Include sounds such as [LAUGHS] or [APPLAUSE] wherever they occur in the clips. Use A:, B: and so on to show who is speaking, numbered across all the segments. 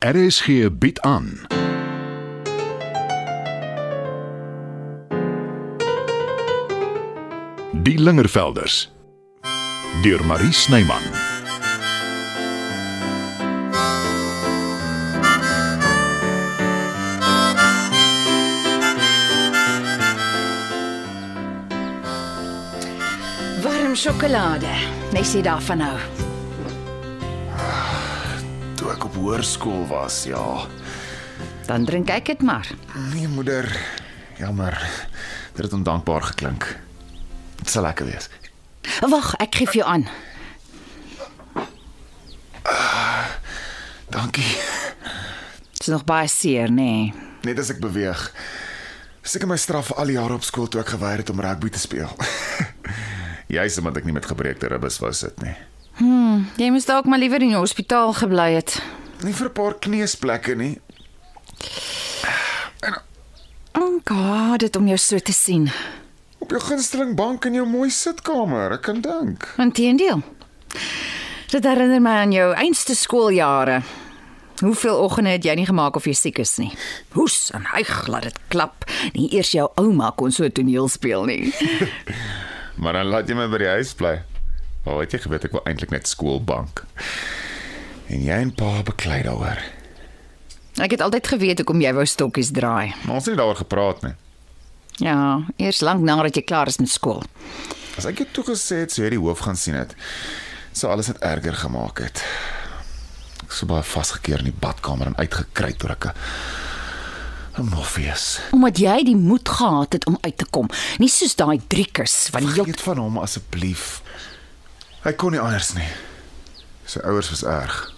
A: RSG bied aan. Die Lingervelders deur Marie Snyman.
B: Warm sjokolade. Net sê daarvan hou.
C: Toe ek op hoërskool was, ja.
B: Dan drink ek dit maar.
C: Nee, moeder. Jammer. Dit het ondankbaar geklink. Dit sal lekker wees.
B: Wag, ek gee vir jou aan.
C: Dankie.
B: Dit's nog baie seer, nê? Nee.
C: Net as ek beweeg. Seker my straf vir al die jare op skool toe ek geweier het om rugby te speel. [LAUGHS] Jy's omdat ek nie met gebreekte ribbes wou sit nie.
B: Jy moes dalk maar liewer in die hospitaal gebly het.
C: Nie vir 'n paar kneusplekke nie.
B: Oh God, dit om jou so te sien.
C: Op jou gunsteling bank in jou mooi sitkamer, ek kan dink.
B: Inteendeel. Dit herinner my aan jou einste skooljare. Hoeveel oggende het jy nie gemaak of jy siek is nie? Hoes en hyg laat dit klap. Nie eers jou ouma kon so toneel speel nie.
C: Maar dan laat jy my by die huis bly. Waar weet jy geweet ek wil eintlik net skoolbank. En jy en pa beklei daaroor.
B: Ek het altyd geweet hoekom jy wou stokkies draai.
C: Maar ons het nie daaroor gepraat nie.
B: Ja, eers lank nadat jy klaar is met skool.
C: As ek jou toe gesê het sou jy die hoof gaan sien het, sou alles net erger gemaak het. Ek sou baie vasgekeer in die badkamer en uitgekry deur ek 'n- 'n Morpheus.
B: Omdat jy die moed gehad het om uit te kom, nie soos daai driekers van die heel
C: Vergeet van hom asseblief. Hy kon nie anders nie. Sy ouers was erg.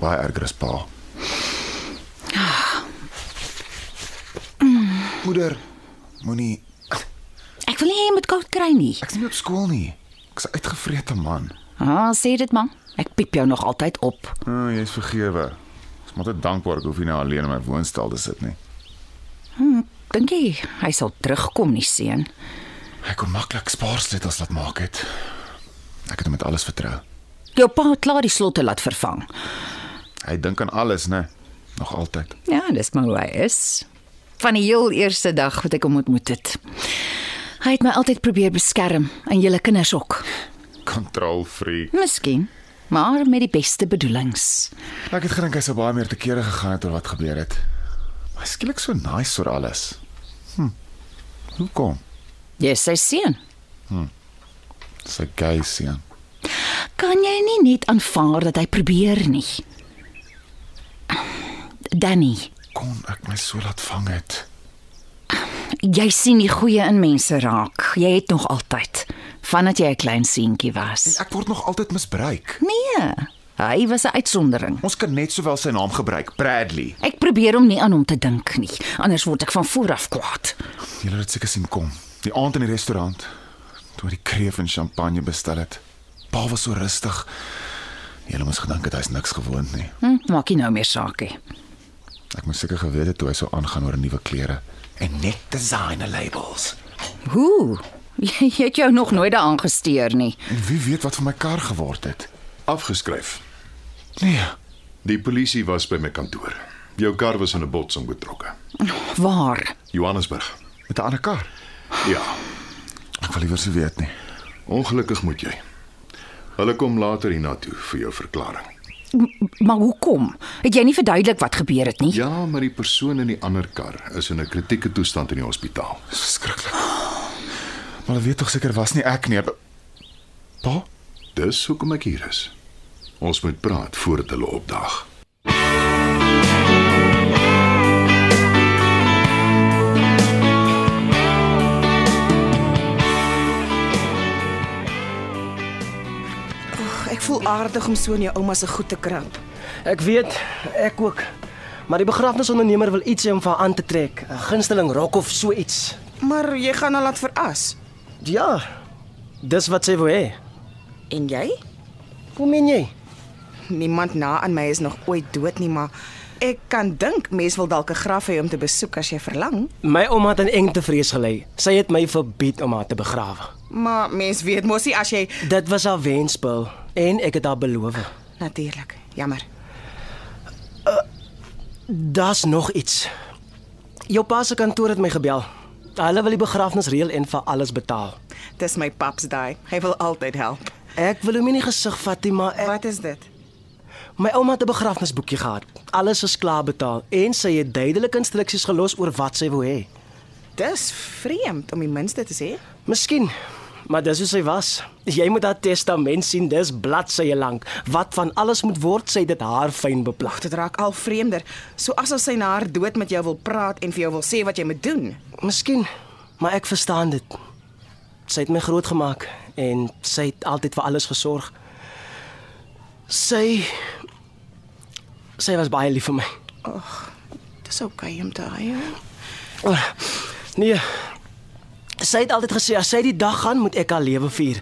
C: Baie erger as pa. Moeder, moenie
B: Ek wil nie hê jy moet koud kry nie.
C: ek's nie op skool nie. Ek's 'n uitgevrete man.
B: Ah, sê dit man. Ek piep jou nog altyd op.
C: Oh, jy's vergewe. Ek is maar te dankbaar ek hoef nie nou alleen in my woonstel te sit nie.
B: Dink jy hy sal terugkom nie seun?
C: Ek kon maklik spaarsleutels laat maak het. Ek het hom met alles vertrou.
B: Jou pa het klaar die slotte laat vervang.
C: Hy dink aan alles, né? Nog altyd.
B: Ja, dis maar hoe hy is. Van die heel eerste dag wat ek hom ontmoet het. Hy het my altyd probeer beskerm en julle kinders ook.
C: Control freak.
B: Miskien, maar met die beste bedoelings.
C: Ek het gedink hy sou baie meer te kere gegaan het oor wat gebeur het. Maar skielik so nice oor alles. Hm. Hoekom?
B: Jy is sy seun.
C: Sy gay seun.
B: Kan jy nie net aanvaar dat hy probeer nie? Danny,
C: Kon ek my so laat vang het?
B: jy sien die goeie in mense raak. Jy het nog altyd vandat jy 'n klein seentjie was.
C: Ek word nog altyd misbruik.
B: Nee, hy was 'n uitsondering.
C: Ons kan net sowel sy naam gebruik, Bradley.
B: Ek probeer om nie aan hom te dink nie, anders word ek van vooraf kwaad.
C: Julle het dit seker sien kom. Die aand in die restaurant toe hy die kreef en champagne bestel het. Pa was so rustig. Julle moes gedink het hy's niks gewoond nie.
B: Hm, maak nie nou meer saak nie.
C: Ek moes seker geweet het toe hy sou aangaan oor nuwe klere en net designer labels.
B: Hoe? [LAUGHS] Jy jy het jou nog nooit daaraan gesteer nie.
C: En wie weet wat van my kar geword het?
D: Afgeskryf.
C: Nee,
D: Die polisie was by my kantoor. Jou kar was in 'n botsing betrokke.
B: Waar?
D: Johannesburg.
C: met 'n ander kar.
D: Ja,
C: Ek wil liewer se weet nie.
D: ongelukkig moet jy. Hulle kom later hiernatoe vir jou verklaring.
B: Maar hoekom? Het jy nie verduidelik wat gebeur het nie?
D: Ja, maar die persoon in die ander kar is in 'n kritieke toestand in die hospitaal.
C: Dis verskriklik. Maar hulle weet tog seker was nie ek nie. Pa?
D: Dis hoekom ek hier is. Ons moet praat voordat hulle opdaag.
E: Ek voel aardig om so in jou ouma se goed te krap.
F: Ek weet, ek ook. Maar die begrafnisondernemer wil iets hê om vir haar aan te trek, 'n gunsteling rok of so iets.
E: Maar jy gaan haar laat verras.
F: Ja. Dis wat sy wou hê.
E: En jy?
F: Hoe meen jy?
E: Niemand na aan my is nog ooit dood nie, maar ek kan dink mens wil dalk 'n graf hê om te besoek as jy verlang,
F: My ouma het aan engtevrees gely. Sy het my verbied om haar te begrawe.
E: maar mens weet mos nie as jy
F: Dit was haar wenspil en ek het haar beloof.
E: natuurlik. Jammer.
F: Daar's nog iets. Jou pa se kantoor het my gebel. Hulle wil die begrafnis reël en vir alles betaal.
E: Dis my paps daai. Hy wil altyd help.
F: Ek wil hom nie in die gesig vat nie, maar ek
E: Wat is dit?
F: My ouma het 'n begrafnisboekie gehad. Alles is klaar betaal en sy het duidelike instruksies gelos oor wat sy wou hê.
E: Dis vreemd om die minste te sê.
F: Miskien, maar dis hoe sy was. Jy moet haar testament sien, dis bladsye lank. Wat van alles moet word, sy het dit haar fyn beplan.
E: Dit raak al vreemder. So asof sy na haar dood met jou wil praat en vir jou wil sê wat jy moet doen.
F: Miskien, maar ek verstaan dit. Sy het my grootgemaak en sy het altyd vir alles gesorg. Sy sy was baie lief vir my.
E: Dis oukei okay om te huil.
F: Oh, Nee. Sy het altyd gesê as sy die dag gaan, moet ek haar lewe vier.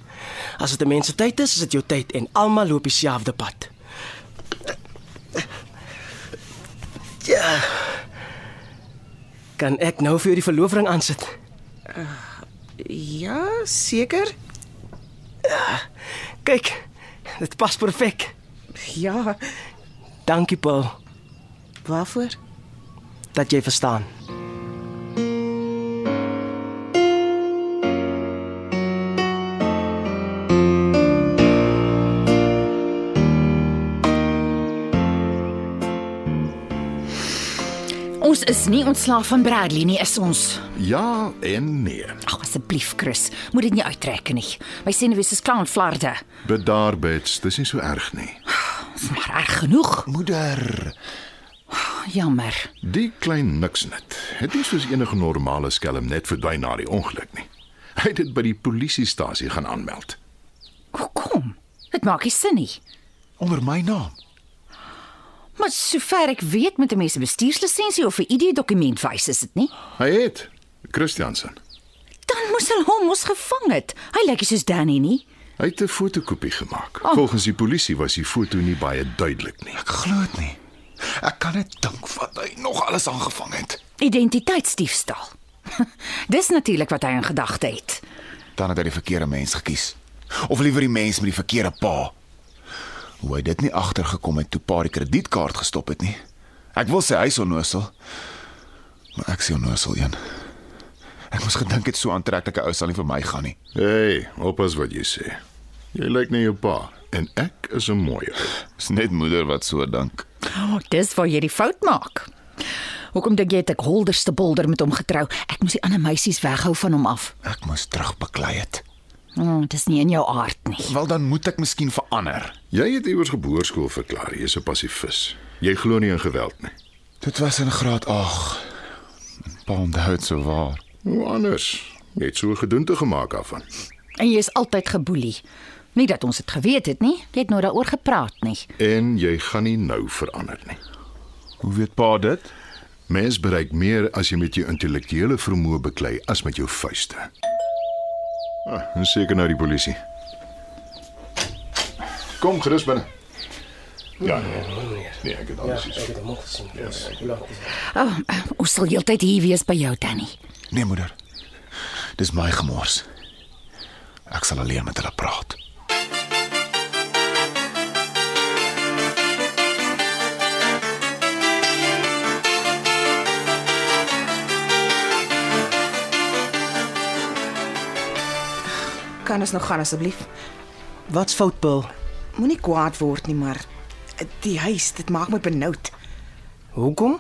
F: As dit 'n mens se tyd is, is dit jou tyd en almal loop dieselfde pad. Ja. Kan ek nou vir jou die verloofring aansit?
E: Ja, seker.
F: Kyk, dit pas perfek.
E: Ja,
F: Dankie, Paul,
E: waarvoor?
F: dat jy verstaan.
B: Ons is nie ontslaaf van Bradley nie, is ons.
A: Ja en nee.
B: Ag asseblief, Chris, moet dit nie uittrek nie. My senuwees is klaar in flarde.
D: Bedaar bets, dis nie so erg nie.
B: Dis maar erg genoeg. Ah,
D: Moeder,
B: Jammer.
D: die klein niksnit het nie soos enige normale skelm net verdwyn na die ongeluk nie. Hy het dit by die polisiestasie gaan aanmeld
B: Hoekom? Dit maak nie sin nie.
D: onder my naam.
B: Maar sover ek weet met 'n mens se bestuurslisensie of 'n ID-dokument wys is dit nie.
D: Hy het Christiansen.
B: Dan moes hulle hom mos gevang het. Hy lyk nie soos Danny nie.
D: Hy het 'n fotokopie gemaak.
B: Oh.
D: Oh. Volgens die polisie was die foto nie baie duidelik nie.
C: Ek glo dit nie. Ek kan net dink wat hy nog alles aangevang het.
B: Identiteitsdiefstal. [LAUGHS] Dis natuurlik wat hy in gedagte het.
C: Dan het hy die verkeerde mens gekies. Of liewer die mens met die verkeerde pa. Hoe hy dit nie agtergekom het toe pa die kredietkaart gestop het nie. Ek wil sê hy is onnoosel. Maar ek sê onnoosel een. Ek moes gedink het so aantreklike ou sal nie vir my gaan nie.
D: Hey, oppas wat jy sê. Jy lyk na jou pa en ek is 'n mooi ou.
C: Dis net moeder wat so dink.
B: Oh, dis waar jy die fout maak. Hoekom dink jy het ek holderste bolder met hom getrou? Ek moes die ander meisies weghou van hom af.
C: Ek moes terugbeklei het.
B: Oh, dis nie in jou aard nie.
C: Wel dan moet ek miskien verander.
D: Jy het iewers geboorskool verklaar jy's 'n pasifis. Jy glo nie in geweld nie.
C: Dit was in graad 8. En Pa onthou dit so waar.
D: Hoe anders? Jy het so 'n gedoente gemaak daarvan.
B: En jy is altyd geboelie. Nie dat ons dit geweet het nie. Jy het nou daaroor gepraat nie.
D: En jy gaan nie nou verander nie.
C: Hoe weet pa dit?
D: Mens bereik meer as jy met jou intellektuele vermoë beklei as met jou vuiste. Ah, en seker nou die polisie. Kom gerus binne. Ja. Nee, ek het alles hier.
F: het hom gesien. Hoe lank is dit?
B: Oh, ons sal heeltyd hier wees by jou, Danny.
C: Nee, moeder. Dis my gemors. Ek sal alleen met hulle praat.
E: Kan ons nog gaan asseblief?
F: Wat's fout, Paul?
E: Moenie kwaad word nie, maar die huis, dit maak my benoud.
F: Hoekom?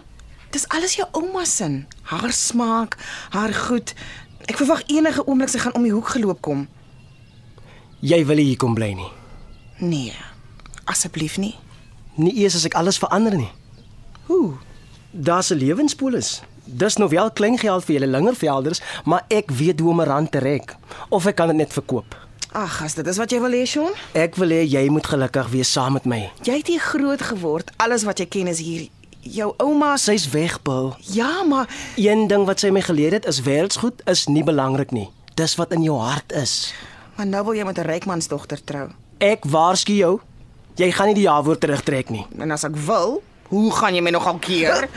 E: Dis alles jou ouma se, haar smaak, haar goed. Ek verwag enige oomblik sy gaan om die hoek geloop kom.
F: Jy wil nie hier kom bly nie.
E: Nee. Asseblief nie.
F: Nie eers as ek alles verander nie.
E: Hoe?
F: Daar's 'n lewenspolis. Dis nou wel klein geld vir julle lingervelders, maar ek weet hoe om 'n rand te rek of ek kan dit net verkoop.
E: Ag, as dit is wat jy wil hê, Sean.
F: Ek wil hê jy moet gelukkig wees saam met my.
E: Jy het hier groot geword. Alles wat jy ken is hier. Jou ouma se
F: Sy's weg, Paul.
E: Ja, maar
F: Een ding wat sy my geleer het is wêreldsgoed is nie belangrik nie. Dis wat in jou hart is.
E: maar nou wil jy met 'n rykmansdogter trou.
F: Ek waarsku jou, jy gaan nie die ja-woord terugtrek nie.
E: En as ek wil, hoe gaan jy my nogal keer?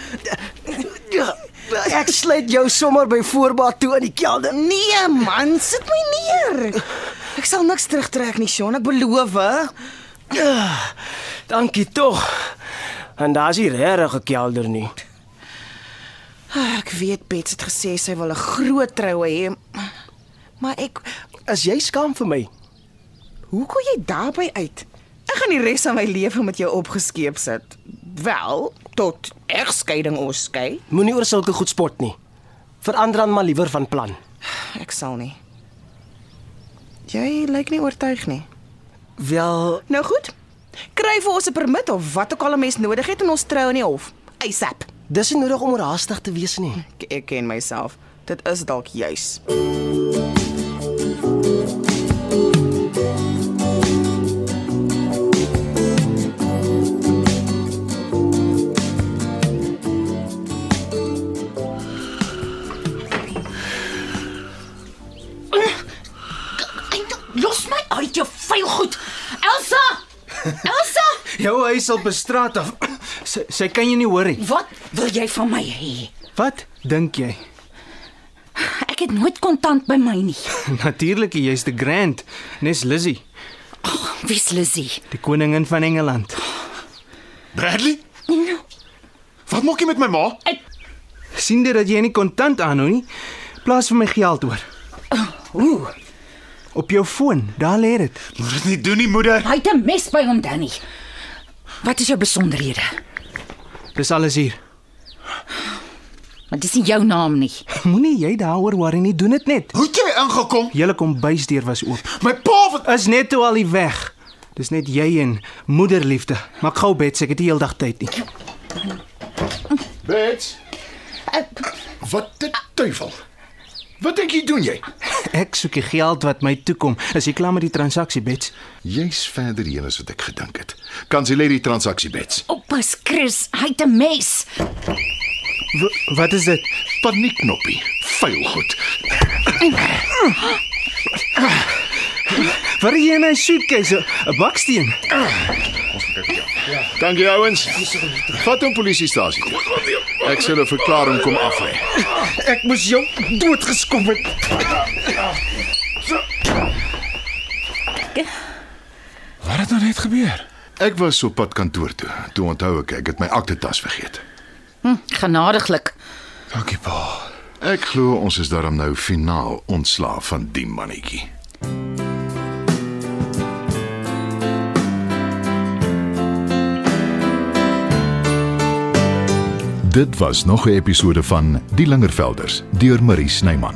F: Ek sluit jou sommer by voorbaat toe in die kelder.
E: Nee man, sit my neer. Ek sal niks Ah,
F: Ah,
E: terugtrek nie, Sean, ek beloof.
F: Dankie tog.
G: En daar's nie regtig 'n kelder nie.
E: Ek weet Bets het gesê sy wil 'n groot troue hê. Maar ek,
G: Is jy skaam vir my?
E: hoe kom jy daarby uit? Ek gaan die res van my lewe met jou opgeskeep sit. Wel, tot egskeiding ons skei.
G: Moenie oor sulke goed spot nie. Verander dan maar liewer van plan.
E: Ek sal nie. Jy lyk nie oortuig nie.
G: Wel,
E: Nou goed. Kry vir ons 'n permit of wat ook al 'n mens nodig het en ons trou in die hof. ASAP.
G: dis nie nodig om oorhaastig te wees nie.
E: Ek, ek ken myself. Dit is dalk juis.
B: Los my uit jou vuil goed. [LAUGHS] Elsa! Elsa!
F: Jou huis op 'n straat af. [CLEARS THROAT] Sy, sy kan jy nie hoor nie.
B: Wat wil jy van my hê?
F: Wat dink jy? [LAUGHS]
B: Ek het nooit kontant by my nie.
F: Natuurlik, jy's te grand. Nes Lizzy,
B: Wie's Lizzie?
F: die koningin van Engeland.
C: Bradley? Wat maak jy met my ma?
F: sien dit dat jy nie kontant aanhou nie. Plaas vir my geld oor.
B: Ooh,
F: Op jou foon, daar lê dit.
C: Moet dit nie doen nie, moeder.
B: hy het 'n mes by hom Danny. Wat is jou besonderhede?
F: Dis alles hier.
B: Want dis nie jou naam nie.
F: Moenie jy daaroor worry nie, doen dit net.
C: Hoe het jy ingekom?
F: Julle kombuisdeur was oop.
C: My pa wat
F: Is net toe al die weg. Dis net jy en moederliefde. Maak gou bed, ek het die hele dag tyd nie.
C: Bets, wat dit duivel? Wat dink jy doen jy?
F: Ek soek die geld wat my toekom. Is jy klaar met die transaksie, Bets?
H: Jy's verder heen as wat ek gedink het. Kanselleer die transaksie bets.
B: Oppas Chris, hy het 'n mes.
F: W wat is dit?
H: Paniek knoppie. Vuil goed.
F: Wat het jy in hy suitcase? 'n Baksteen.
H: Dankie ouens. Vat hom polisiestasie toe. Ek sal 'n verklaring kom af lê.
F: Ek moes jou doodgeskop het.
C: Wat het nou net gebeur?
H: Ek was op pad kantoor toe. Toe onthou ek ek het my aktetas vergeet.
B: Hm, genadiglik.
C: Dankie pa.
H: Ek glo ons is daarom nou finaal ontslaaf van die mannetjie.
D: Dit was nog 'n episode van Die Lingervelders deur Marie Snyman.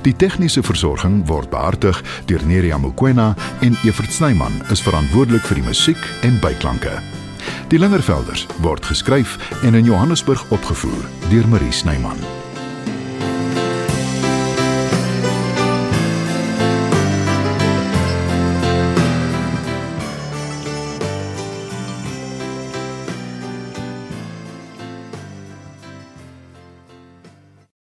D: Die tegniese versorging word behartig deur Neriya Mukwena en Evert Snyman is verantwoordelik vir die musiek en byklanke. Die Lingervelders word geskryf en in Johannesburg opgevoer deur Marie Snyman.